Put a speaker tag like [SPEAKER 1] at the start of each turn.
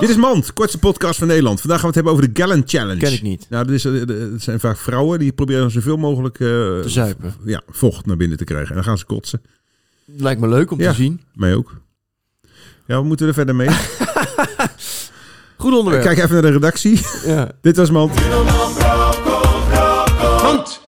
[SPEAKER 1] Dit is Mand, kortste podcast van Nederland. Vandaag gaan we het hebben over de Gallon Challenge.
[SPEAKER 2] Ken ik niet.
[SPEAKER 1] Nou, dat, is, eh, eh, het zijn vaak vrouwen die proberen zoveel mogelijk eh,
[SPEAKER 2] Te zuipen.
[SPEAKER 1] v- ja, vocht naar binnen te krijgen. En dan gaan ze kotsen.
[SPEAKER 2] Lijkt me leuk om
[SPEAKER 1] Ja.
[SPEAKER 2] te zien.
[SPEAKER 1] Mij ook. Ja, we moeten er verder mee.
[SPEAKER 2] Goed onderwerp.
[SPEAKER 1] Kijk even naar de redactie.
[SPEAKER 2] Ja.
[SPEAKER 1] Dit was Mand.
[SPEAKER 3] Mand.